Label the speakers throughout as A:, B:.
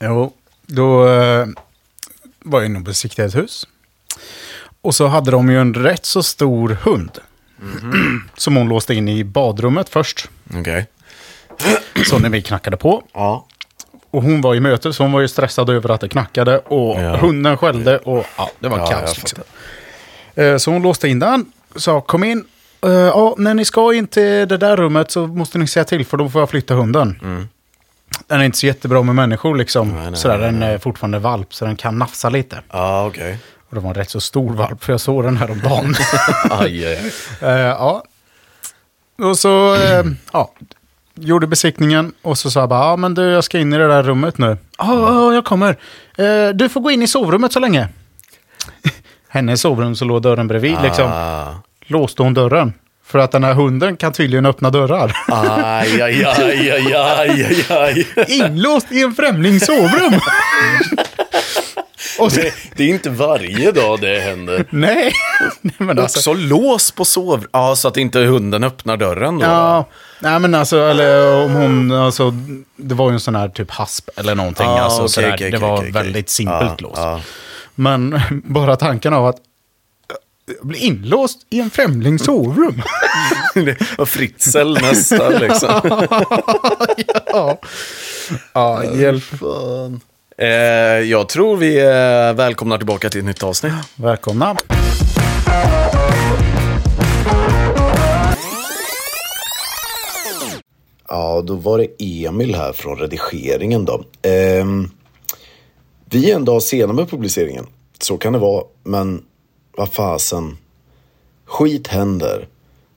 A: Jo, då eh, var jag inne och besiktade ett hus. Och så hade de ju en rätt så stor hund. som hon låste in i badrummet först.
B: Okej.
A: Så när vi knackade på.
B: Ja.
A: Och hon var i möte, så hon var ju stressad över att det knackade. Och
B: Ja.
A: hunden skällde och ja, det var
B: Ja, jag
A: kaos. Liksom. Eh, Så hon låste in den, sa kom in. Eh, Ja, när ni ska in till det där rummet så måste ni säga till för då får jag flytta hunden. Den är inte så jättebra med människor liksom.
B: Mm. nej,
A: Sådär,
B: nej,
A: den är fortfarande valp så den kan nafsa lite.
B: Ja, okej.
A: Och det var en rätt så stor valp för jag såg den här om dagen.
B: Aj, aj, aj.
A: Eh, ja. Och så eh, ja, gjorde besiktningen och så sa jag bara, ja men du jag ska in i det där rummet nu. Ja, ja, jag kommer. Eh, du får gå in i sovrummet så länge. Hennes sovrum så låg dörren bredvid liksom.
B: Ah.
A: Låste hon dörren? För att den här hunden kan tydligen öppna dörrar.
B: Ah. Aj, aj, aj, aj, aj, aj, aj.
A: Inlåst i en främlings sovrum! och så,
B: Det, det är inte varje dag det händer.
A: nej. nej, men alltså.
B: Också lås på sov... Ja, så att inte hunden öppnar dörren då.
A: Ja, nej men alltså, eller om hon, alltså, det var ju en sån här typ hasp eller någonting.
B: Ah,
A: alltså,
B: okej,
A: sådär.
B: okej,
A: det
B: okej,
A: var
B: okej.
A: väldigt simpelt
B: Ah,
A: lås.
B: ah.
A: Men bara tanken av att eh, bli inlåst i en främlings sovrum.
B: Det var Fritzl nästa liksom.
A: ja. ja, hjälp.
B: Eh, jag tror vi eh, välkomnar tillbaka till ett nytt avsnitt.
A: Välkomna.
C: Ja, då var det Emil här från redigeringen då. Ehm, vi är en dag sena med publiceringen. Så kan det vara, men vad fasen. Skit händer.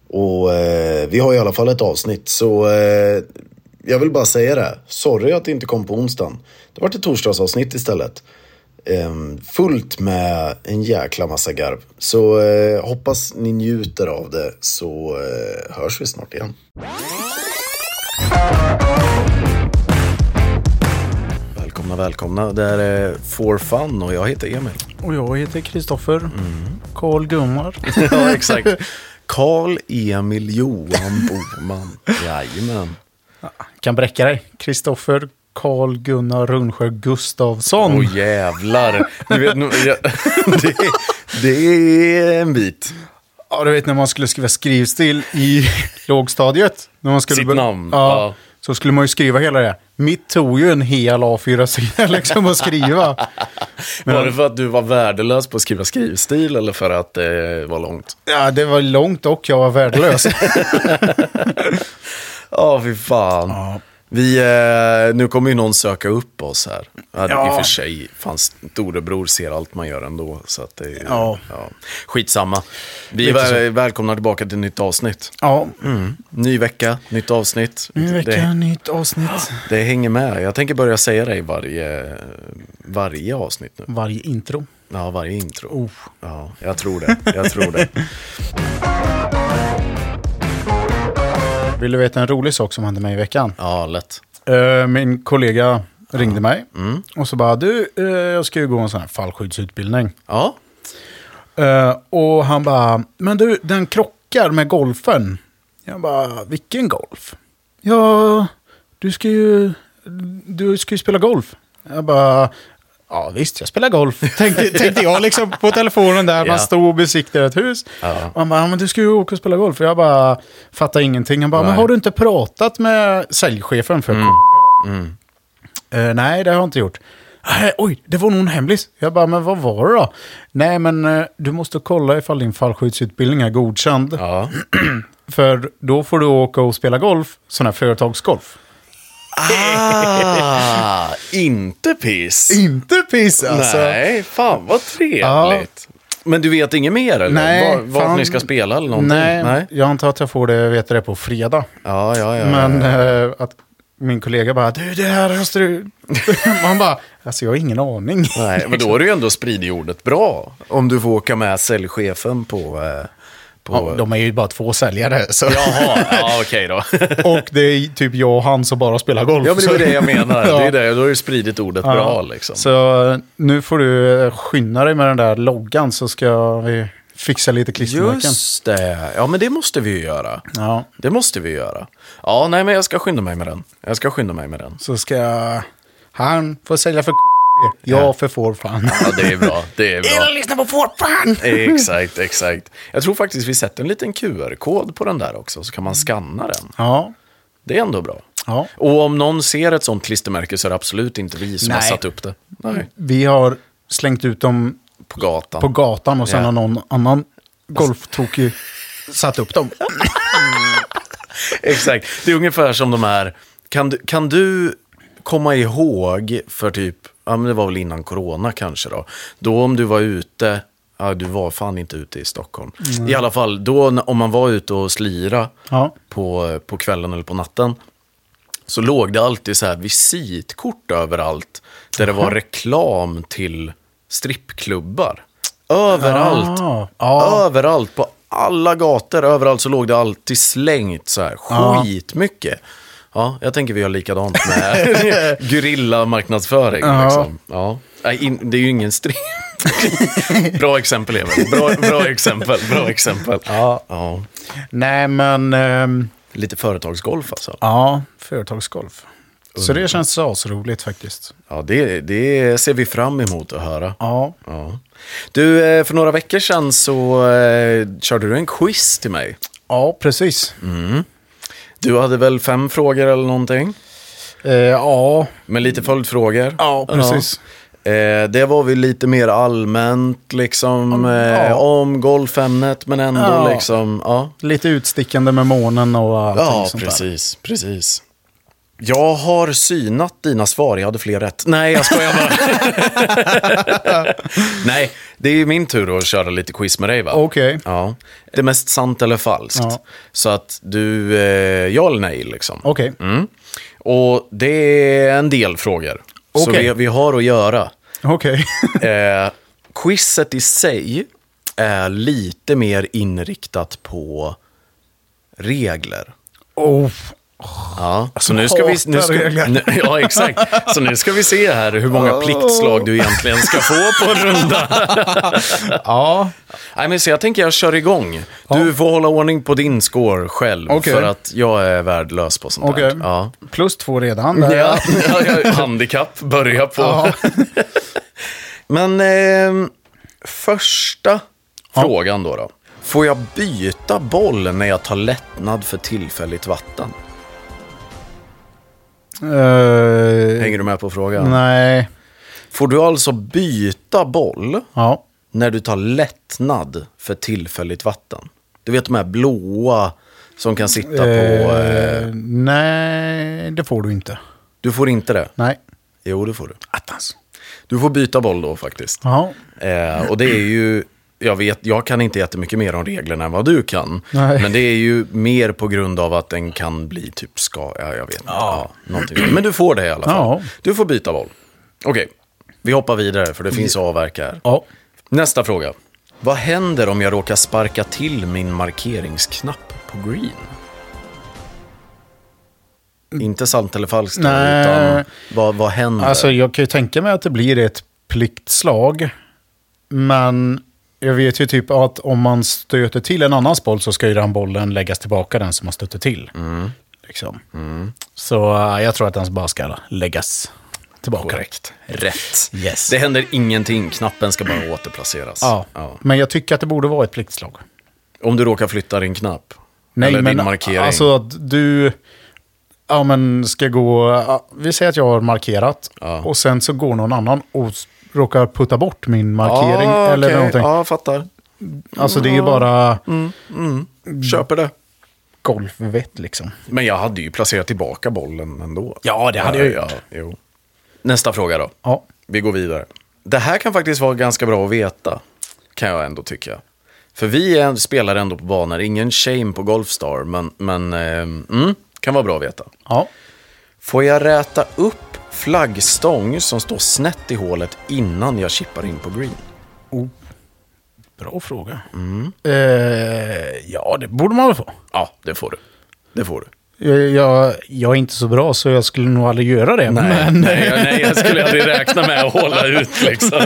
C: Och eh, vi har i alla fall ett avsnitt, så eh, jag vill bara säga det. Sorry att det inte kom på onsdagen. Det vart ett torsdagsavsnitt istället. Ehm, fullt med en jäkla massa garv. Så eh, hoppas ni njuter av det, så eh, hörs vi snart igen.
B: Välkomna, välkomna. Det här är For Fun och jag heter Emil.
A: Och jag heter Kristoffer.
B: Mm.
A: Karl Gunnar.
B: Ja, exakt. Karl Emil Johan Boman. Jajamän.
A: Kan bräcka dig. Kristoffer Karl Gunnar Rönnsjö Gustafsson.
B: Åh jävlar. Du vet, nu, jag, det, det är en bit.
A: Ja, du vet när man skulle skriva skrivstil i lågstadiet. När man skulle
B: Sitt
A: bör-
B: namn,
A: Ja,
B: ja.
A: Så skulle man ju skriva hela det. Mitt tog ju en hel A4-sida liksom att skriva.
B: Var det för att du var värdelös på att skriva skrivstil eller för att det var långt?
A: Ja, det var långt och jag var värdelös.
B: Ja, fy fan. Vi, eh, nu kommer ju någon söka upp oss här. Ja, det- I och för sig, fan, storebror ser allt man gör ändå. Så att det,
A: Ja.
B: Skitsamma. Vi är väl, välkomna tillbaka till ett nytt avsnitt.
A: Ja,
B: Ny vecka, nytt avsnitt.
A: nu vecka,
B: Mm, Det,
A: nytt avsnitt.
B: det hänger med. Jag tänker börja säga det i varje, varje avsnitt nu.
A: Varje intro.
B: Ja, varje intro.
A: Oh.
B: Ja, jag tror det. Jag tror det.
A: Vill du veta en rolig sak som hände mig i veckan?
B: Ja, lätt.
A: Eh, min kollega
B: Mm.
A: ringde mig och så bara, du, eh, jag ska ju gå en sån här fallskyddsutbildning.
B: Ja,
A: Eh, och han bara, men du, den krockar med golfen. Jag bara, vilken golf? Ja, du ska ju, du ska ju spela golf. Jag bara, ja visst, jag spelar golf. Tänkte, tänkte jag liksom på telefonen där,
B: Ja.
A: man stod och besiktade ett hus.
B: Ja.
A: Och han bara, men du ska ju åka och spela golf. Jag bara, fattar ingenting. Han bara, men
B: Nej. Mm.
A: har du inte pratat med säljchefen för Eh, nej, det har jag inte gjort. "Nej, oj, det var nog en hemlis. Jag bara, men vad var det då? Nej, men eh, du måste kolla ifall din fallskyddsutbildning är godkänd.
B: ja.
A: För då får du åka och spela golf, sån här företagsgolf.
B: Ah, inte piss.
A: Inte piss alltså.
B: Nej, fan vad trevligt. Men du vet inget mer eller?
A: Nej,
B: Var, vart
A: fan.
B: ni ska spela eller någonting?
A: Nej, jag antar att jag får det, veta det på fredag.
B: Ja, ja, ja.
A: Men eh, att min kollega bara, du det här måste du... Man bara, alltså jag har ingen aning.
B: Nej, men då har du ju ändå spridit ordet bra. Om du får åka med säljchefen på... eh, på...
A: Ja, de är ju bara två säljare. Så.
B: Jaha, ja okej då.
A: Och det är typ jag och han som bara spelar golf.
B: Ja, men det var
A: så-
B: det jag menar.
A: Ja.
B: Det är det. Då har du spridit ordet bra
A: Ja,
B: liksom.
A: Så eh, nu får du eh, skynda dig med den där loggan så ska vi fixa lite klistermärken.
B: Just det. Ja, men det måste vi ju göra.
A: Ja,
B: Det måste vi göra. Ja, nej, men jag ska skynda mig med den. Jag ska skynda mig med den.
A: så ska jag Han får sälja för Jag för fårfan.
B: Ja, det är bra. Det är bra.
A: lyssna på fårfan!
B: Exakt, exakt. Jag tror faktiskt vi sätter en liten QR-kod på den där också, så kan man skanna den.
A: Ja,
B: Det är ändå bra.
A: ja.
B: Och om någon ser ett sånt klistermärke så är det absolut inte vi som har
A: Nej.
B: satt upp det. Nej.
A: Vi har slängt ut dem
B: På gatan.
A: på gatan och sen
B: Ja.
A: har någon annan golftokig satt upp dem.
B: Exakt. Det är ungefär som de här, kan du, kan du komma ihåg för typ, ja men det var väl innan corona kanske då. Då om du var ute, ja du var fan inte ute i Stockholm. I alla fall, då n- om man var ute och slira
A: Ja.
B: på, på kvällen eller på natten. Så låg det alltid så här visitkort överallt. Där det var reklam till strippklubbar. Överallt.
A: Ah, ja.
B: Överallt, på alla gator, överallt så låg det alltid slängt så här skitmycket. Ja, jag tänker vi gör likadant med gorillamarknadsföring.
A: Ja.
B: Liksom. Ja. Nej, in, det är ju ingen strid. bra exempel, Emil. Bra, bra exempel. Bra exempel.
A: Ja.
B: Ja.
A: Nej, men ehm,
B: Lite företagsgolf alltså.
A: ja, företagsgolf. Så det känns asroligt faktiskt.
B: Ja, det, det ser vi fram emot att höra.
A: Ja,
B: Ja. Du, eh, för några veckor sedan så eh, körde du en quiz till mig.
A: ja precis.
B: Du hade väl fem frågor eller någonting?
A: Eh, ja,
B: Med lite följdfrågor.
A: Ja, precis.
B: Ja. Eh, det var väl lite mer allmänt, liksom, eh,
A: ja.
B: om golfämnet, men ändå
A: Ja.
B: liksom, ja.
A: lite utstickande med månen och allting
B: Ja,
A: sånt där.
B: precis, precis. Jag har synat dina svar, jag hade fler rätt. Nej, jag skojar bara. Nej, det är min tur att köra lite quiz med dig va?
A: Okej.
B: Ja. Det är mest sant eller falskt.
A: Ja.
B: Så att du, eh, ja eller nej liksom.
A: Okej.
B: Mm. Och det är en del frågor. Så
A: Okej.
B: vi, vi har att göra.
A: Okej.
B: Eh, quizet i sig är lite mer inriktat på regler.
A: oh,
B: Ja, så Alltså, nu ska vi... Nu ska,
A: hatar regler.
B: nu, ja, exakt. Så nu ska vi se här hur många pliktslag du egentligen ska få på en runda.
A: ja.
B: Nej, men så jag tänker jag kör igång. Du får hålla ordning på din score själv,
A: Okej.
B: för att jag är värdelös på sånt
A: Okej.
B: där. Ja.
A: Plus två redan. Där.
B: Ja, ja, ja, handikapp börja på.
A: Ja.
B: Men eh, första frågan då, då. Får jag byta boll när jag tar lättnad för tillfälligt vatten?
A: Eh,
B: Hänger du med på frågan?
A: nej.
B: Får du alltså byta boll
A: Ja.
B: när du tar lättnad för tillfälligt vatten? Du vet de här blåa som kan sitta på... Eh,
A: Eh, nej, det får du inte.
B: du får inte det?
A: Nej.
B: Jo, det får du.
A: Attans.
B: Du får byta boll då faktiskt.
A: Ja.
B: Eh, och det är ju, jag vet, jag kan inte jättemycket mer om reglerna än vad du kan.
A: Nej.
B: Men det är ju mer på grund av att den kan bli typ ska, ja, jag vet inte. Ja. någonting sånt. Men du får det i alla fall.
A: Ja.
B: Du får byta boll. Okej, vi hoppar vidare för det finns att
A: Mm.
B: avverka här.
A: Ja.
B: Nästa fråga. Vad händer om jag råkar sparka till min markeringsknapp på green? Inte sant eller falskt, då,
A: Nej.
B: utan vad, vad händer?
A: Alltså, jag kan ju tänka mig att det blir ett pliktslag. Men jag vet ju typ att om man stöter till en annans boll så ska ju den bollen läggas tillbaka den som man stöter till.
B: Mm.
A: Liksom. Så eh, jag tror att den bara ska läggas tillbaka.
B: Korrekt. Rätt.
A: Yes.
B: Det händer ingenting. Knappen ska bara återplaceras.
A: Ja. men jag tycker att det borde vara ett pliktslag.
B: Om du råkar flytta din knapp.
A: Nej,
B: eller
A: men
B: din markering.
A: alltså att du ja, men ska gå... Ja, vi säger att jag har markerat
B: Ja.
A: och sen så går någon annan och s- råkar putta bort min markering eller
B: Ah, okej.
A: någonting.
B: Ja, fattar.
A: Alltså det är ju bara
B: Köper det.
A: golfvett liksom.
B: Men jag hade ju placerat tillbaka bollen ändå.
A: Ja, det hade jag
B: ja,
A: gjort.
B: jo. Nästa fråga då.
A: Ja.
B: Vi går vidare. Det här kan faktiskt vara ganska bra att veta. Kan jag ändå tycka. För vi är, spelar ändå på banor. Ingen shame på Golfstar, men, men eh, mm, kan vara bra att veta.
A: ja.
B: Får jag räta upp flaggstång som står snett i hålet innan jag chippar in på green?
A: Bra fråga. Mm. Eh, ja, det borde man väl få.
B: Ja, det får du. Det får du.
A: Jag, jag, jag är inte så bra så jag skulle nog aldrig göra det. men,
B: nej, jag- nej, jag skulle aldrig räkna med att hålla ut liksom.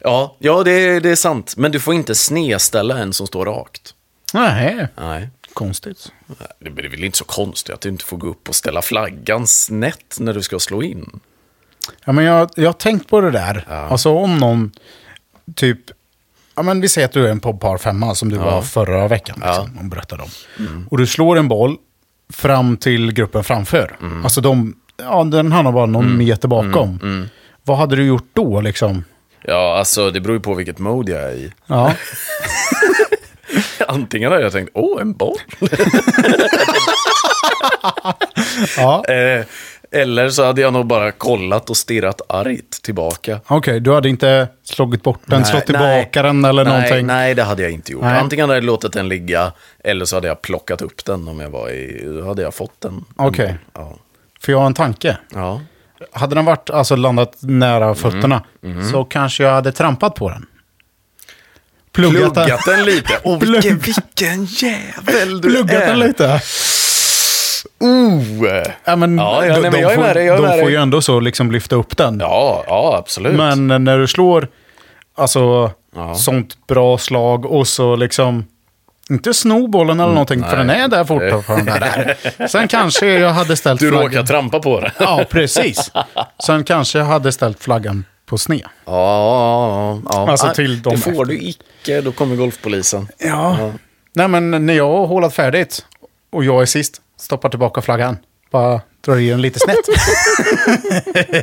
B: ja, ja det, är- det är sant. Men du får inte snedställa en som står rakt.
A: nej.
B: Nej.
A: Konstigt.
B: Nej, Det blir väl inte så konstigt att du inte får gå upp och ställa flaggan snett när du ska slå in.
A: Ja, men jag, jag har tänkt på det där. Alltså om någon, typ, ja, men vi säger att du är en på par femma som du var förra veckan. Liksom, och berättade om. Och du slår en boll fram till gruppen framför.
B: Mm.
A: Alltså de, ja, den hamnar bara någon meter bakom.
B: Mm.
A: Vad hade du gjort då liksom?
B: Ja, alltså det beror ju på vilket mode jag är i.
A: Ja,
B: Antingen har jag tänkt, åh, en boll.
A: ja.
B: Eh, eller så hade jag nog bara kollat och stirrat argt tillbaka.
A: okej, du hade inte slagit bort den,
B: Nej,
A: slått tillbaka
B: nej.
A: den eller
B: nej,
A: någonting?
B: Nej, det hade jag inte gjort.
A: Nej.
B: Antingen hade jag låtit den ligga, eller så hade jag plockat upp den om jag var i... Då hade jag fått den.
A: Okej.
B: Ja.
A: För jag har en tanke.
B: ja.
A: Hade den varit, alltså landat nära fötterna
B: Mm,
A: så kanske jag hade trampat på den. Pluggat,
B: Pluggat den lite. Åh, vilken,
A: Plugg-
B: vilken jävel du
A: Pluggat
B: är.
A: den lite.
B: Oh.
A: Ja, men,
B: ja, ja,
A: de,
B: nej, men
A: de
B: jag är
A: får,
B: med dig. Jag är
A: de
B: med
A: får
B: dig.
A: ju ändå så liksom lyfta upp den.
B: Ja, ja, absolut.
A: men eh, när du slår alltså,
B: Ja.
A: sånt bra slag och så liksom... Inte sno bollen
B: Mm,
A: eller någonting, för den är där fortfarande. där. Sen kanske jag hade ställt
B: du
A: flaggan...
B: råkar trampa på den.
A: Ja, precis. Sen kanske jag hade ställt flaggan på sned.
B: Ja, ja.
A: Alltså
B: Nej,
A: till dem
B: Det får
A: efter.
B: du icke, då kommer golfpolisen.
A: Ja. Nej, men när jag har hålat färdigt och jag är sist, stoppar tillbaka flaggan. Bara drar i den lite snett.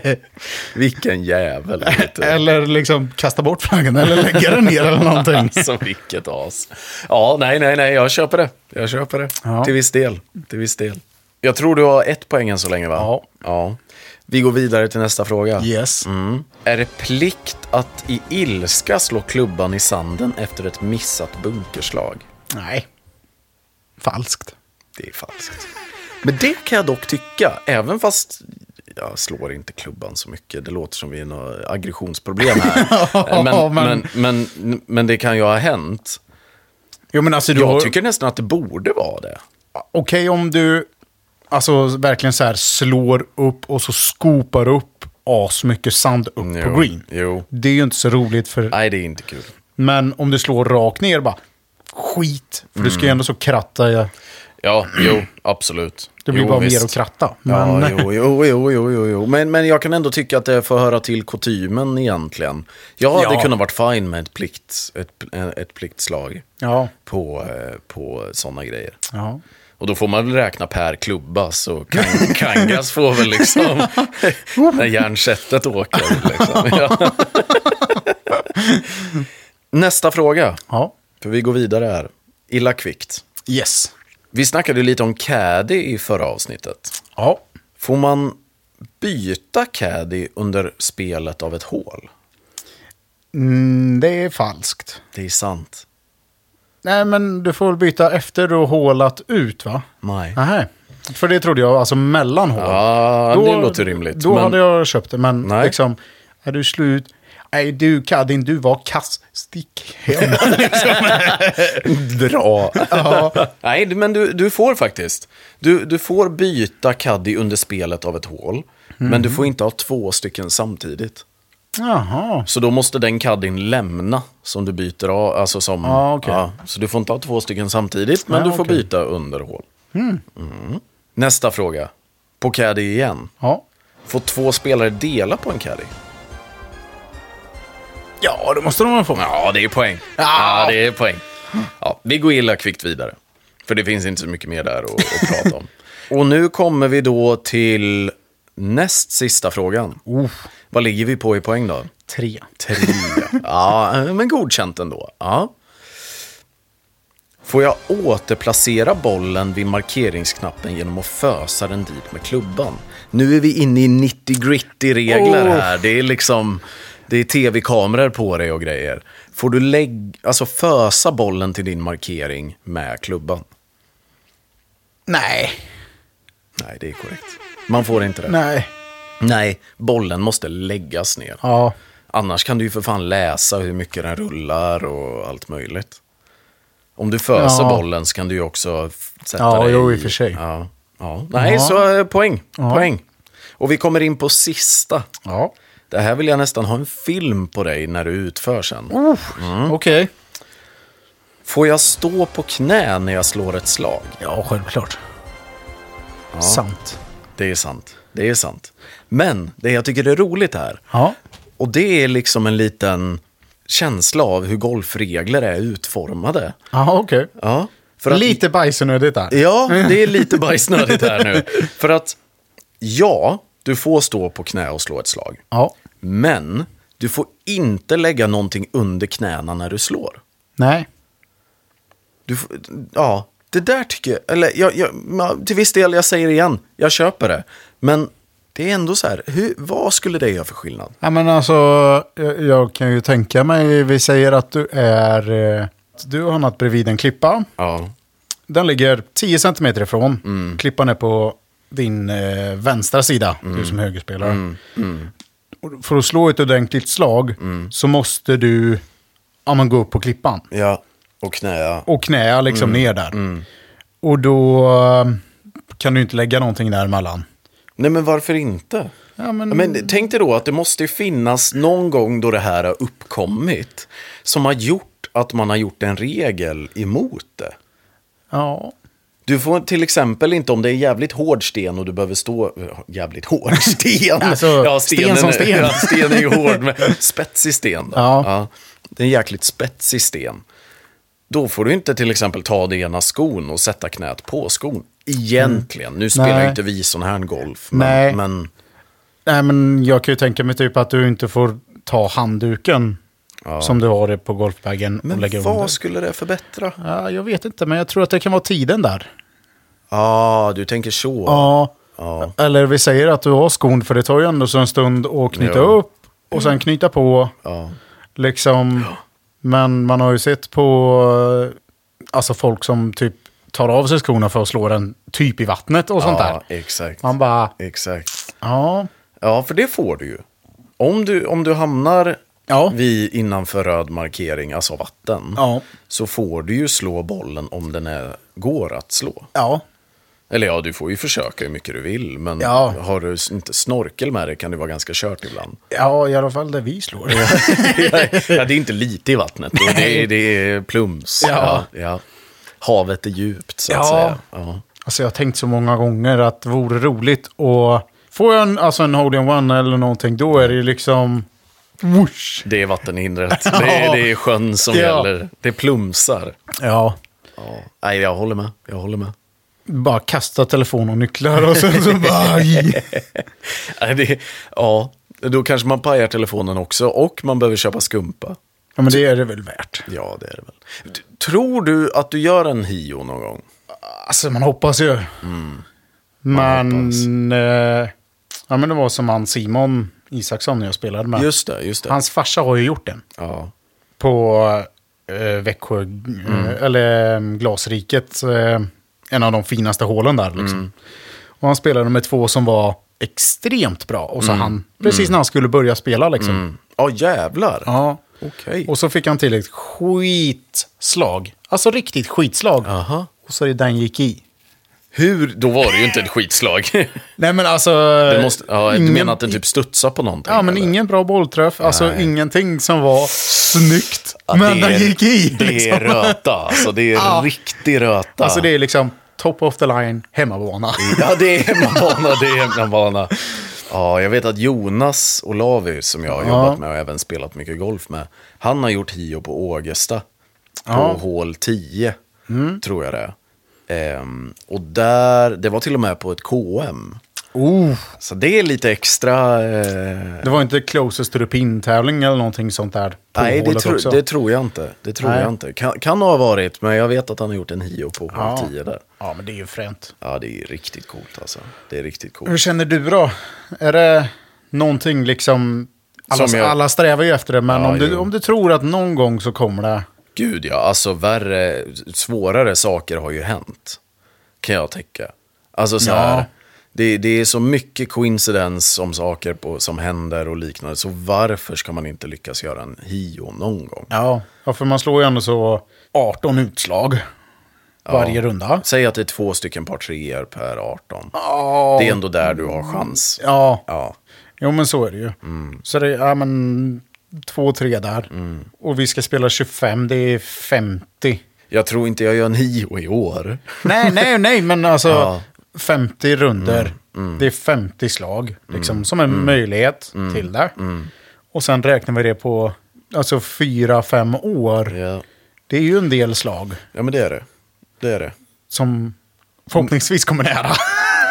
B: Vilken jävel. vet du.
A: eller liksom kastar bort flaggan eller lägger den ner eller någonting.
B: Alltså vilket as. Ja, nej, nej, nej, jag köper det. Jag köper det.
A: Ja.
B: Till viss del. Till viss del. Jag tror du har ett poäng än så länge, va?
A: Ja.
B: ja. Vi går vidare till nästa fråga.
A: Yes.
B: Mm. Är det plikt att i ilska slå klubban i sanden efter ett missat bunkerslag?
A: Nej. Falskt.
B: Det är falskt. Men det kan jag dock tycka, även fast jag slår inte klubban så mycket. Det låter som vi är något aggressionsproblem här. men, men...
A: men-
B: Men, men, det kan ju ha hänt.
A: Jo, men alltså du
B: Jag
A: har-
B: tycker nästan att det borde vara det.
A: Okej om du alltså verkligen så här slår upp och så skopar upp as mycket sand upp
B: Jo,
A: på green.
B: jo.
A: Det är ju inte så roligt för...
B: Nej, det är inte kul.
A: Men om du slår rakt ner bara, skit. För du ska ju
B: Mm.
A: ändå så kratta. ja.
B: Ja, jo, absolut.
A: Det blir
B: jo,
A: bara
B: visst.
A: mer att kratta. Men...
B: Ja, jo, jo, jo, jo, jo, jo. Men, men jag kan ändå tycka att det får höra till kutymen egentligen. Jag hade
A: Ja.
B: kunnat varit fine med ett, plikt, ett, ett pliktslag
A: Ja.
B: på, eh, på sådana grejer.
A: ja.
B: Och då får man väl räkna per klubba, så kan, Kangas får väl liksom, när järnsättet åker. Liksom. Ja. Nästa fråga,
A: Ja.
B: för vi går vidare här. Illa kvickt.
A: Yes.
B: Vi snackade ju lite om caddy i förra avsnittet.
A: Ja.
B: Får man byta caddy under spelet av ett hål?
A: Mm, det är falskt.
B: Det är sant.
A: Nej, men du får väl byta efter du har hålat ut, va?
B: Nej.
A: Nej. För det trodde jag, alltså mellan hål.
B: Ja, det låter rimligt.
A: Då
B: men-
A: hade jag köpt det, men
B: Nej.
A: liksom, är du slut? Nej, du Kaddin, du var Liksom. kass. Stick hem.
B: Dra. Nej, men du, du får faktiskt. Du, du får byta caddy under spelet av ett hål. Men
A: Mm.
B: du får inte ha två stycken samtidigt.
A: Jaha.
B: Så då måste den caddyn lämna som du byter av. Alltså som,
A: Ja, okej.
B: så du får inte ha två stycken samtidigt, men
A: Ja,
B: du får
A: okej. Hmm.
B: byta under hål. Mm. Nästa fråga. På caddy igen.
A: Ja.
B: Får två spelare dela på en caddy?
A: ja, det måste de väl få.
B: Ja, det är poäng. Ja, det är poäng. Ja, vi går illa kvickt vidare. För det finns inte så mycket mer där att, att prata om. Och nu kommer vi då till näst sista frågan. Vad ligger vi på i poäng då?
A: Tre.
B: Tre. Ja, men godkänt ändå. Ja. Får jag återplacera bollen vid markeringsknappen genom att fösa den dit med klubban? Nu är vi inne i 90 gritty regler
A: Oh.
B: här. Det är liksom, det är tv-kameror på dig och grejer. Får du lägg, alltså fösa bollen till din markering med klubban?
A: Nej.
B: Nej, det är korrekt. Man får inte det.
A: Nej.
B: Nej, bollen måste läggas ner.
A: Ja.
B: Annars kan du ju för fan läsa hur mycket den rullar och allt möjligt. Om du föser
A: Ja.
B: bollen så kan du ju också f- sätta
A: Ja,
B: dig
A: jo, i och för sig.
B: Ja. Ja. Nej, så eh, poäng. poäng. Och vi kommer in på sista.
A: Ja.
B: Det här Mm. vill jag nästan ha en film på dig när du utför sen.
A: Okej.
B: Får jag stå på knä när jag slår ett slag?
A: Ja, självklart. Sant.
B: Det är sant. Det är sant. Men det jag tycker är roligt här,
A: Ja.
B: och det är liksom en liten känsla av hur golfregler är utformade.
A: Ja, okej.
B: Ja, för att,
A: Lite bajsnödigt där.
B: ja det är lite bajsnödigt här nu. För att, ja, du får stå på knä och slå ett slag.
A: Ja.
B: Men du får inte lägga någonting under knäna när du slår.
A: Nej.
B: Du får, ja, det där tycker jag, eller jag, jag, ja, till viss del, jag säger det igen, jag köper det. Men det är ändå så här, hur, vad skulle det göra för skillnad?
A: Ja, men alltså, jag, jag kan ju tänka mig, vi säger att du är, eh, du har hamnat bredvid en klippa.
B: Ja.
A: Den ligger 10 cm ifrån.
B: Mm.
A: Klippan är på din eh, vänstra sida,
B: Mm.
A: du som högerspelare. Och För att slå ett ordentligt slag
B: Mm.
A: så måste du ja, men gå upp på klippan.
B: Ja, och knä,
A: Och knäa liksom ner där. Och då eh, kan du inte lägga någonting däremellan.
B: Nej, men varför inte?
A: Ja, men-
B: men tänk dig då att det måste ju finnas någon gång då det här har uppkommit. Som har gjort att man har gjort en regel emot det.
A: Ja.
B: Du får till exempel inte om det är jävligt hård sten och du behöver stå... eh, Jävligt hård sten?
A: Alltså, sten som sten.
B: Ja, sten är ju hård, men spetsig sten. Då.
A: Ja.
B: Det är en jäkligt spetsig sten. Då får du inte till exempel ta det ena skon och sätta knät på skon. Egentligen. Nu spelar
A: Nej.
B: ju inte vi sån här golf. Men,
A: Nej.
B: men
A: Nej, men jag kan ju tänka mig typ att du inte får ta handduken som du har på golfbagen och lägga
B: men
A: under.
B: vad skulle det förbättra? Ja,
A: Ja, jag vet inte, men jag tror att det kan vara tiden där.
B: ah, du tänker så.
A: Ja.
B: Ja.
A: Eller vi säger att du har skon, för det tar ju ändå så en stund att knyta
B: Ja.
A: upp och sen knyta på.
B: Ja.
A: Liksom. Men man har ju sett på eh, alltså folk som typ tar av sig skorna för att slå den typ i vattnet och sånt där.
B: Ja, exakt.
A: Man bara,
B: Exakt.
A: ja,
B: Ja, för det får du ju. Om du, om du hamnar
A: Ja.
B: vid innanför röd markering, alltså vatten,
A: Ja.
B: så får du ju slå bollen om den är, går att slå.
A: ja,
B: Eller ja, du får ju försöka hur mycket du vill, men
A: Ja.
B: har du s- inte snorkel med dig kan det vara ganska kört ibland.
A: ja, i alla fall där vi slår.
B: ja, det är inte lite i vattnet, då. det är, det är plums.
A: Ja.
B: Ja, ja. Havet är djupt, så att
A: Ja.
B: säga. Ja.
A: Alltså jag har tänkt så många gånger att det vore roligt och får jag en, alltså en hold-in-one eller någonting då är det ju liksom... Whoosh!
B: Det är vattenhindret, det, är, det är sjön som
A: Ja.
B: gäller. Det plumsar.
A: Ja,
B: Ja. Nej, jag håller med. Jag håller med.
A: bara kasta telefon och nycklar och sen så bara...
B: Nej, det, ja, då kanske man pajar telefonen också och man behöver köpa skumpa.
A: Ja men det är det väl värt.
B: Ja, det är det väl. D- Tror du att du gör en hio någon gång?
A: Alltså man hoppas ju.
B: Mm.
A: men... Eh, ja men det var som han Simon Isaksson jag spelade med.
B: Just det, just det.
A: Hans farsa har ju gjort den.
B: Ja.
A: på eh, Växjö,
B: Mm.
A: eh, eller eh, Glasriket, eh, en av de finaste hålen där. Liksom.
B: Mm.
A: Och han spelade med två som var extremt bra. Och så
B: Mm.
A: han, precis när han skulle börja spela liksom.
B: Ja, jävlar.
A: Ja.
B: Okej.
A: Och så fick han till ett skitslag. Alltså riktigt skitslag.
B: Aha.
A: Och så den gick i.
B: Hur? Då var det ju inte ett skitslag.
A: Nej men alltså...
B: Det måste, ja, du
A: ingen-
B: menar att den typ studsar på någonting?
A: Ja men
B: eller?
A: ingen bra bollträff. Alltså ingenting som var snyggt.
B: Ja,
A: men
B: det är-
A: den gick i.
B: Det är röta, alltså. Det är
A: Ja.
B: riktig röta.
A: Alltså det är liksom top of the line, hemmabana.
B: Ja, det är hemmabana, det är hemmabana. Ja, jag vet att Jonas Olavi, som jag har jobbat med och även spelat mycket golf med, han har gjort Hio på Ågesta. På hål 10,
A: Mm.
B: tror jag det är. Ehm, och där, det var till och med på ett KM.
A: Oh.
B: Så det är lite extra... Eh,
A: Det var inte closest to the pin-tävling eller någonting sånt där? på
B: nej, det,
A: hålet
B: tro,
A: också.
B: det tror jag inte. Det tror
A: Nej.
B: jag inte. Kan, kan ha varit, men jag vet att han har gjort en Hio på hål
A: Ja.
B: 10 där.
A: Ja, men det är ju fränt.
B: Ja, det är riktigt coolt alltså. Det är riktigt coolt.
A: Hur känner du då? Är det någonting liksom... Alla,
B: Som jag-
A: alla strävar ju efter det, men
B: Ja,
A: om, du,
B: jo.
A: om du tror att någon gång så kommer det...
B: Gud ja, alltså värre, svårare saker har ju hänt. Kan jag tänka. Alltså så
A: Ja.
B: här, det, det är så mycket coincidens om saker på, som händer och liknande. Så varför ska man inte lyckas göra en hio någon gång?
A: Ja. ja, för man slår ju ändå så 18 utslag varje runda.
B: Säg att det är två stycken par treor per 18.
A: Ja.
B: Det är ändå där du har chans.
A: Ja.
B: Ja, Mm.
A: Jo, men så är det ju. Så det är, ja men, två, tre där. Och vi ska spela 25, det är 50.
B: Jag tror inte jag gör nio i år.
A: Nej, nej, nej, men alltså
B: Ja. Mm,
A: 50 runder. Det är 50 slag, liksom, som en möjlighet
B: Mm.
A: till det. Och sen räknar vi det på alltså 4-5 år.
B: Ja.
A: Det är ju en del slag
B: ja, men det är det. Det är det.
A: som förhoppningsvis kommer nära.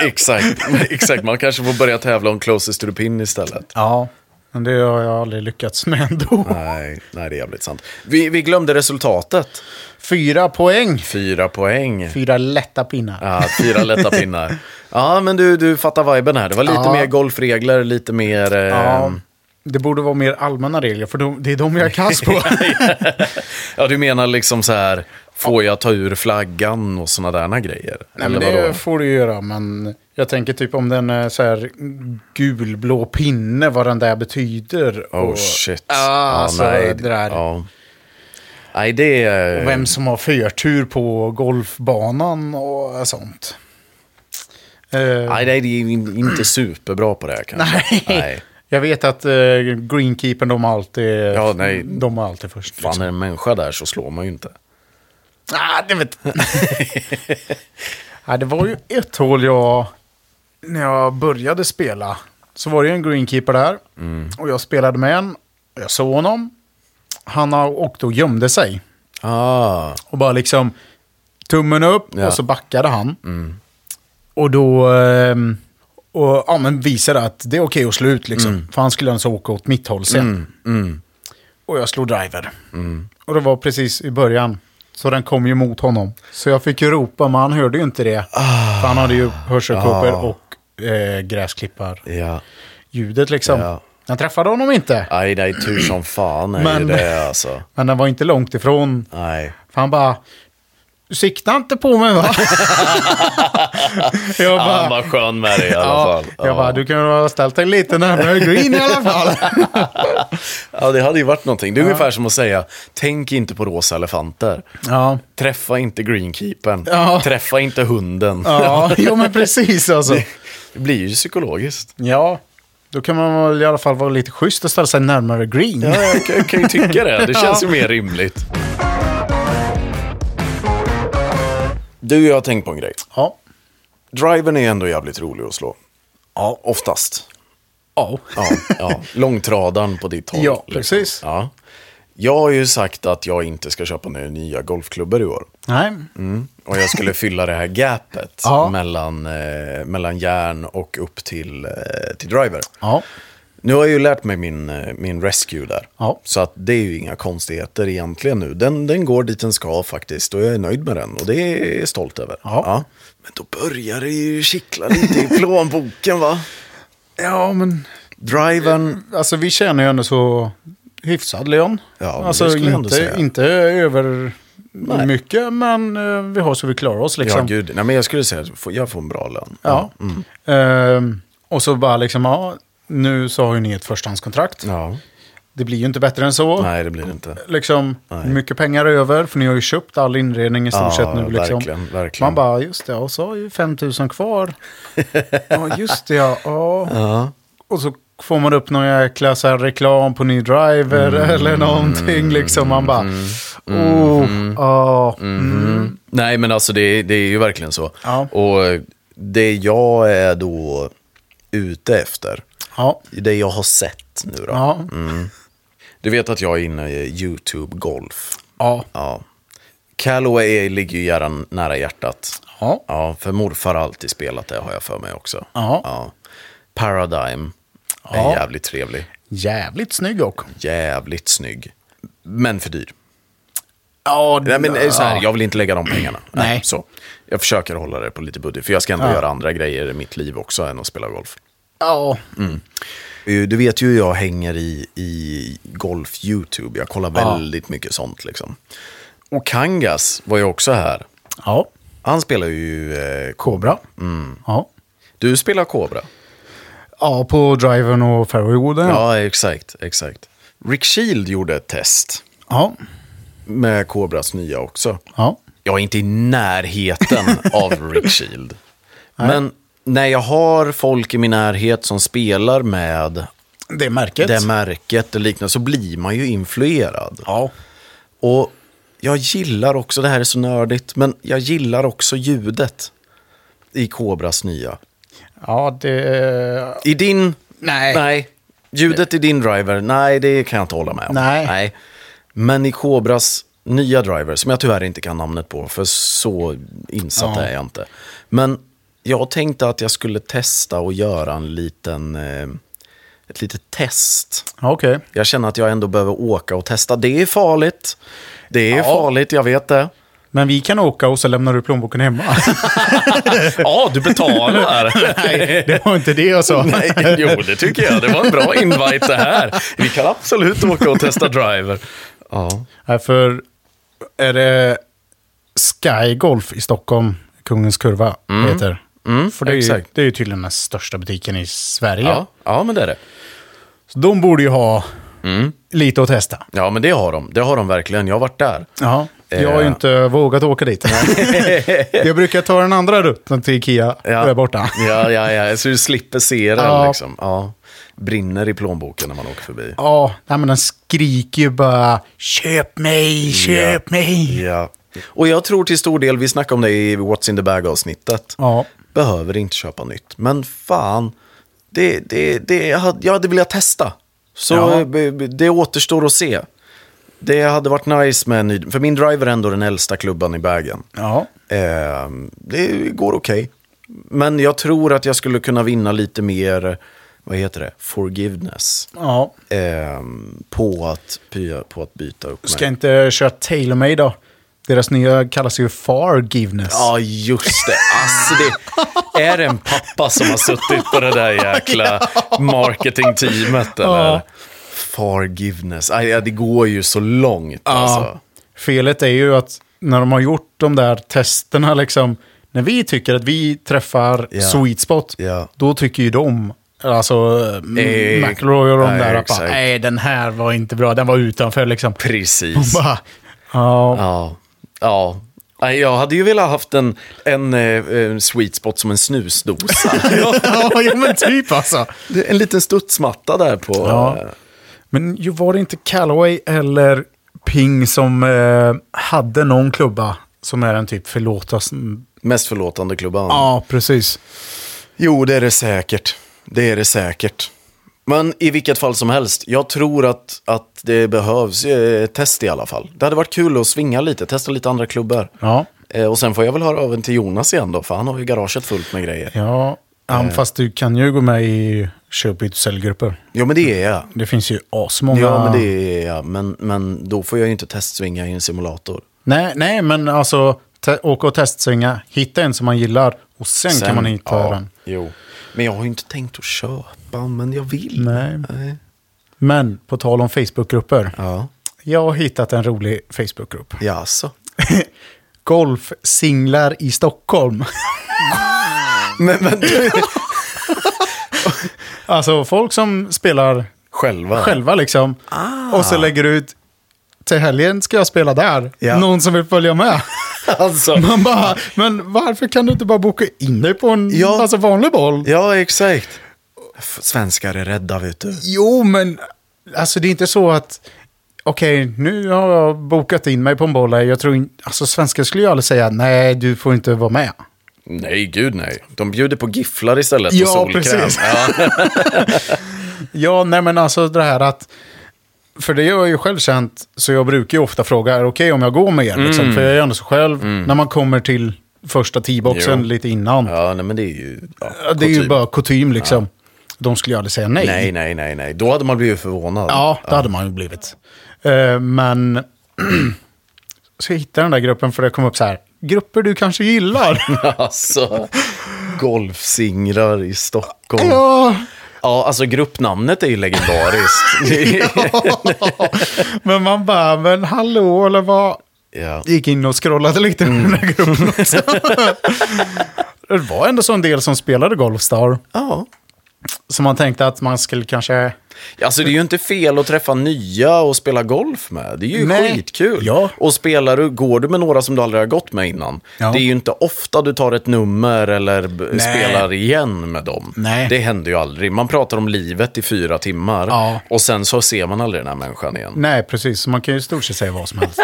B: Exakt. Exakt, man kanske får börja tävla om closest to the pin istället.
A: Ja, men det har jag aldrig lyckats med ändå.
B: Nej, nej det är jävligt sant. Vi, vi glömde resultatet.
A: Fyra poäng.
B: Fyra poäng.
A: Fyra lätta pinnar.
B: Ja, fyra lätta pinnar. Ja, men du, du fattar viben här. Det var lite
A: Ja.
B: mer golfregler, lite mer... Eh,
A: Ja, det borde vara mer allmänna regler, för de, det är de jag är kass på.
B: ja, du menar liksom så här, får jag ta ur flaggan och sådana där grejer?
A: Nej, men
B: Eller vadå?
A: det får du göra, men jag tänker typ om den är så här gulblå pinne, vad den där betyder.
B: Oh shit.
A: Ja, alltså, det där.
B: Ja. Nej, det är...
A: Och vem som har förtur på golfbanan och sånt. Eh,
B: Nej, det är in- inte superbra på det här kanske.
A: nej.
B: nej.
A: Jag vet att eh, greenkeepern, de har alltid,
B: Ja, nej.
A: De har alltid först.
B: Fan,
A: liksom.
B: är det en människa där så slår man ju inte.
A: Ah, det, vet. ah, det var ju ett hål jag... När jag började spela så var det ju en greenkeeper där. Och jag spelade med en. Jag såg honom. Han har- åkte och gömde sig.
B: Ah,
A: Och bara liksom tummen upp
B: Ja. Mm.
A: och så backade han. Och då ehm, och, ja, men visade att det är okej att slå ut liksom.
B: Mm.
A: För han skulle alltså åka åt mitt håll sen. Och jag slog driver.
B: Mm.
A: Och det var precis i början. Så den kom ju mot honom. Så jag fick ju ropa, men han hörde ju inte det. För han hade ju hörselkåpor
B: Ah.
A: och eh, gräsklippar.
B: ja.
A: Ljudet liksom.
B: Ja.
A: Jag träffade honom inte.
B: Aj, nej, tur som fan är
A: Men-
B: ju det alltså.
A: Men den var inte långt ifrån.
B: Nej.
A: För han bara, du siktar inte på mig va? jag
B: Ja, Han
A: bara,
B: var skön med det i alla
A: ja,
B: fall.
A: jag bara, du kunde ha ställt dig lite närmare green i alla fall.
B: Ja, det hade ju varit någonting. Det är ungefär som att säga, tänk inte på rosa elefanter.
A: ja,
B: Träffa inte greenkeepern.
A: Ja.
B: Träffa inte hunden.
A: ja, jo men precis alltså.
B: Det blir ju psykologiskt.
A: Ja, då kan man väl i alla fall vara lite schysst och ställa sig närmare green.
B: Ja, jag kan- jag kan ju tycka det. Det känns ju mer rimligt. Du, jag har tänkt på en grej.
A: Ja.
B: Driven är ändå jävligt rolig att slå. Ja. Oftast.
A: Ja.
B: Ja, ja. Långtradan på ditt håll. liksom.
A: Ja, precis.
B: Ja. Jag har ju sagt att jag inte ska köpa några nya golfklubbor i år.
A: Nej.
B: Mm. Och jag skulle fylla det här gapet
A: Ja.
B: mellan, eh, mellan järn och upp till, eh, till driver.
A: Ja.
B: Nu har jag ju lärt mig min, eh, min rescue där.
A: Ja.
B: Så att det är ju inga konstigheter egentligen nu. Den, den går dit den ska faktiskt och jag är nöjd med den och det är jag stolt över.
A: Ja.
B: Men då börjar det ju kittla lite i plånboken va?
A: Ja, men
B: Driven,
A: alltså vi känner ju henne så hyfsad, Leon.
B: Ja, men
A: alltså
B: det skulle jag ändå
A: inte,
B: säga.
A: inte över mycket, men eh, vi har så vi klarar oss liksom.
B: ja gud, nej men jag skulle säga att jag får- jag får en bra lön.
A: Ja.
B: Mm.
A: Ehm, och så bara liksom, ja, nu så har ju ni ett förstahandskontrakt.
B: Ja.
A: Det blir ju inte bättre än så.
B: Nej, det blir det inte.
A: Liksom,
B: Nej.
A: hur mycket pengar är över, för ni har ju köpt all inredning i stort
B: Ja,
A: sett nu. Liksom.
B: verkligen, verkligen.
A: Man bara, just det, och så har ju 5 000 kvar. ja, just det, ja. ja. Och så får man upp någon jäkla så här reklam på ny driver
B: Mm.
A: eller någonting. Liksom. Man bara, oh,
B: Mm.
A: ja. Mm.
B: Nej, men alltså det, det är ju verkligen så.
A: Ja.
B: Och det jag är då ute efter,
A: ja.
B: det jag har sett nu då.
A: Ja.
B: Du vet att jag är inne i YouTube Golf.
A: Ja.
B: Ja. Callaway ligger ju gärna nära hjärtat.
A: Ja.
B: Ja, för morfar har alltid spelat det har jag för mig också.
A: Ja.
B: Paradigm är
A: Ja.
B: jävligt trevlig.
A: Jävligt snygg och.
B: Jävligt snygg. Men för dyr.
A: Ja,
B: Nej, men det är så här, jag vill inte lägga de pengarna.
A: Nej.
B: så. Jag försöker hålla det på lite budget, för jag ska ändå göra andra grejer i mitt liv också än att spela golf.
A: ja.
B: Eh, Du vet ju hur jag hänger i, i golf-YouTube. Jag kollar
A: Ja.
B: väldigt mycket sånt. Liksom. Och Kangas var ju också här.
A: Ja.
B: Han spelar ju... Eh, ko-
A: Kobra. Ja.
B: du spelar Cobra.
A: ja, på driven och fairwaywooden. Ja.
B: Ja, exakt. exakt. Rick Shield gjorde ett test
A: Ja.
B: med Cobras nya också.
A: ja.
B: Jag är inte i närheten av Rick Shield. Men när jag har folk i min närhet som spelar med
A: Det är märket.
B: det märket och liknande så blir man ju influerad.
A: ja.
B: Och jag gillar också, det här är så nördigt, men jag gillar också ljudet i Kobras nya.
A: Ja, det...
B: I din...
A: Nej.
B: Nej. Ljudet i din driver, nej det kan jag inte hålla med om.
A: Nej.
B: Men i Kobras nya driver, som jag tyvärr inte kan namnet på, för så insatt
A: Ja.
B: är jag inte. Men jag tänkte att jag skulle testa och göra en liten, eh, ett litet test.
A: Ja, Okej.
B: Jag känner att jag ändå behöver åka och testa. Det är farligt. Det är
A: Ja.
B: farligt, jag vet det.
A: Men vi kan åka och så lämnar du plånboken hemma.
B: Ja, du betalar.
A: Nej, det var inte det jag sa.
B: Nej, jo, det tycker jag. Det var en bra invite det här. Vi kan absolut åka och testa driver. Ja.
A: Nej, för är det Sky Golf i Stockholm, Kungens Kurva, heter. För det är, ju,
B: exakt.
A: det är ju tydligen den största butiken i Sverige.
B: Ja. ja, men det är det.
A: Så de borde ju ha Mm. lite att testa.
B: Ja, men det har de. Det har de verkligen. Jag har varit där.
A: Ja, jag har ju
B: Eh.
A: inte vågat åka dit. jag brukar ta den andra rutten till Ikea
B: Ja.
A: där borta.
B: Ja, ja, ja. Så du slipper se den
A: Ja.
B: liksom. Ja. Brinner i plånboken när man åker förbi.
A: Ja, nej, men den skriker ju bara köp mig, köp mig.
B: Ja. Och jag tror till stor del, vi snackade om det i What's in the bag-avsnittet.
A: Ja.
B: Behöver inte köpa nytt. Men fan, det, det, det, jag hade- jag hade velat testa. Så eh,
A: Ja.
B: b- b- det återstår att se. Det hade varit nice med en ny, för min driver är ändå den äldsta klubban i bagen.
A: Ja.
B: Eh, det går okej. Men jag tror att jag skulle kunna vinna lite mer, vad heter det, forgiveness.
A: ja.
B: Eh, på, att, pya- på att byta upp
A: Ska jag inte köra TaylorMade då? Deras nya kallas ju Fargiveness.
B: Ja, just det. Alltså, det är det en pappa som har suttit på det där jäkla marketingteamet? Eller? Forgiveness. Aj, ja, det går ju så långt. Alltså.
A: Felet är ju att när de har gjort de där testerna, liksom, när vi tycker att vi träffar
B: Ja.
A: sweet spot,
B: Ja.
A: då tycker ju de, alltså
B: Eh,
A: eh, McElroy och de
B: nej,
A: där, att bara,
B: exakt.
A: nej den här var inte bra, den var utanför liksom.
B: Precis.
A: Bara, ja,
B: Ja. ja. Nej, Jag hade ju velat haft en, en, eh, eh, sweet spot som en snusdosa.
A: ja, jo, men typ alltså.
B: Det är en liten studsmatta där på.
A: Ja.
B: eh,
A: Men ju var det inte Callaway eller Ping som eh, hade någon klubba som är en typ förlåtas...
B: Mest förlåtande klubban.
A: Ja, precis.
B: Jo, det är det säkert. Det är det säkert. Men i vilket fall som helst, jag tror att, att det behövs eh, test i alla fall. Det hade varit kul att svinga lite, testa lite andra klubbar.
A: Ja.
B: Eh, och sen får jag väl höra av en till Jonas igen då, för han har ju garaget fullt med grejer.
A: Ja,
B: Eh.
A: ja, fast du kan ju gå med i köp och säljgrupper.
B: Jo, men det är jag.
A: Det finns ju asmånga.
B: Ja, men det är jag. Men, men då får jag ju inte testsvinga i en simulator.
A: nej, nej, men alltså te- åka och testsvinga, hitta en som man gillar och sen, kan man hitta
B: ja,
A: den.
B: Jo. Men jag har ju inte tänkt att köpa, men jag vill.
A: Nej. Men på tal om Facebookgrupper.
B: Ja.
A: Jag har hittat en rolig Facebookgrupp.
B: Jaså.
A: Golfsinglar i Stockholm.
B: Men, men du...
A: Alltså folk som spelar
B: Själva.
A: själva liksom.
B: Ah.
A: Och så lägger du ut, till helgen ska jag spela där.
B: Ja.
A: Någon som vill följa med.
B: Alltså.
A: Man bara, men varför kan du inte bara boka in dig på en
B: Ja.
A: alltså, vanlig boll?
B: Ja, exakt. F- Svenskar är rädda, vet du.
A: Jo, men alltså det är inte så att, okej, nu har jag bokat in mig på en boll här. Jag tror in, alltså svenskar skulle ju aldrig säga, nej, du får inte vara med.
B: Nej, gud nej. De bjuder på gifflar istället
A: Ja,
B: och solkräm.
A: precis.
B: Ja,
A: Ja, nej men alltså det här att, för det har jag ju själv känt, så jag brukar ju ofta fråga, är det okej om jag går med er?
B: Mm.
A: Liksom, för jag är ändå så själv, när man kommer till första
B: Jo.
A: teeboxen lite innan,
B: ja nej, men det är ju...
A: det
B: Ja,
A: är ju
B: kutym.
A: bara kutym liksom. De skulle ju aldrig säga
B: Nej, nej, nej, nej. Då hade man blivit förvånad.
A: Ja, det hade man ju blivit. Eh, men så jag hittade den där gruppen för det kom upp så här. Grupper du kanske gillar.
B: Alltså, golfsinglar i Stockholm. Ja.
A: ja,
B: alltså gruppnamnet är ju legendariskt.
A: men man bara, men hallå eller vad?
B: ja.
A: Gick in och scrollade lite i den där gruppen också. det var ändå så en del som spelade Golfstar.
B: ja.
A: Så man tänkte att man skulle kanske...
B: Alltså det är ju inte fel att träffa nya och spela golf med. Det är ju
A: Nej.
B: skitkul.
A: Ja.
B: Och spelar du, går du med några som du aldrig har gått med innan,
A: Ja.
B: det är ju inte ofta du tar ett nummer eller b-
A: Nej.
B: spelar igen med dem.
A: Nej.
B: Det händer ju aldrig. Man pratar om livet i fyra timmar
A: Ja.
B: och sen så ser man aldrig den här människan igen.
A: Nej, precis. Så man kan ju i stort sett säga vad som helst.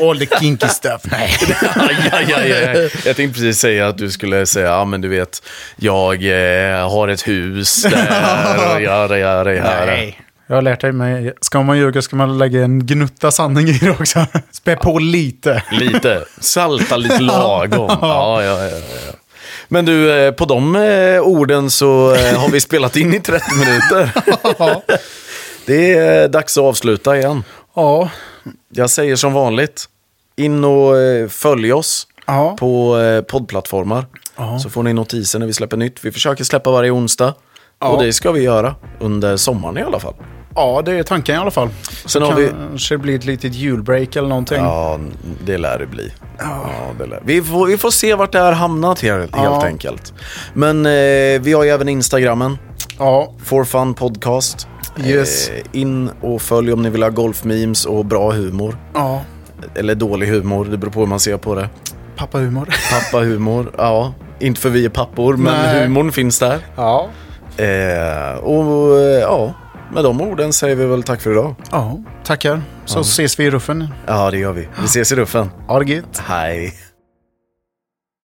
A: All the kinky stuff. Nej.
B: ja, ja, ja. Jag tänkte precis säga att du skulle säga, ja men du vet, jag eh, har ett hus där, och göra, göra, göra.
A: Jag har lärt dig, men ska man ljuga ska man lägga en gnutta sanning i det också. Spä på lite.
B: Lite, salta lite lagom. Ja, ja, ja, ja. Men du, eh, på de eh, orden så eh, har vi spelat in i 30 minuter. Det är eh, dags att avsluta igen.
A: Ja,
B: Jag säger som vanligt, in och eh, följ oss
A: Ja.
B: på eh, poddplattformar. Så får ni notiser när vi släpper nytt. Vi försöker släppa varje onsdag. Och det ska vi göra under sommaren i alla fall.
A: ja, det är tanken i alla fall.
B: Sen har vi-
A: Kanske blir ett litet julbreak eller någonting.
B: Ja, det lär det bli. Ja, det lär. Vi, får, vi får se vart det här hamnat helt, helt enkelt. Men eh, vi har ju även Instagrammen,
A: Ja,
B: For Fun Podcast.
A: Yes.
B: Eh, in och följ om ni vill ha golfmemes och bra humor.
A: ja.
B: Eller dålig humor, det beror på hur man ser på det.
A: pappa humor.
B: Pappahumor, ja. Inte för vi är pappor, men
A: Nej.
B: humorn finns där.
A: Ja.
B: Eh, och eh, ja, med de orden säger vi väl tack för idag.
A: ja, tackar. Så ses vi i ruffen.
B: Ja, det gör vi. Vi ses i ruffen.
A: Ha det gött.
B: Hej.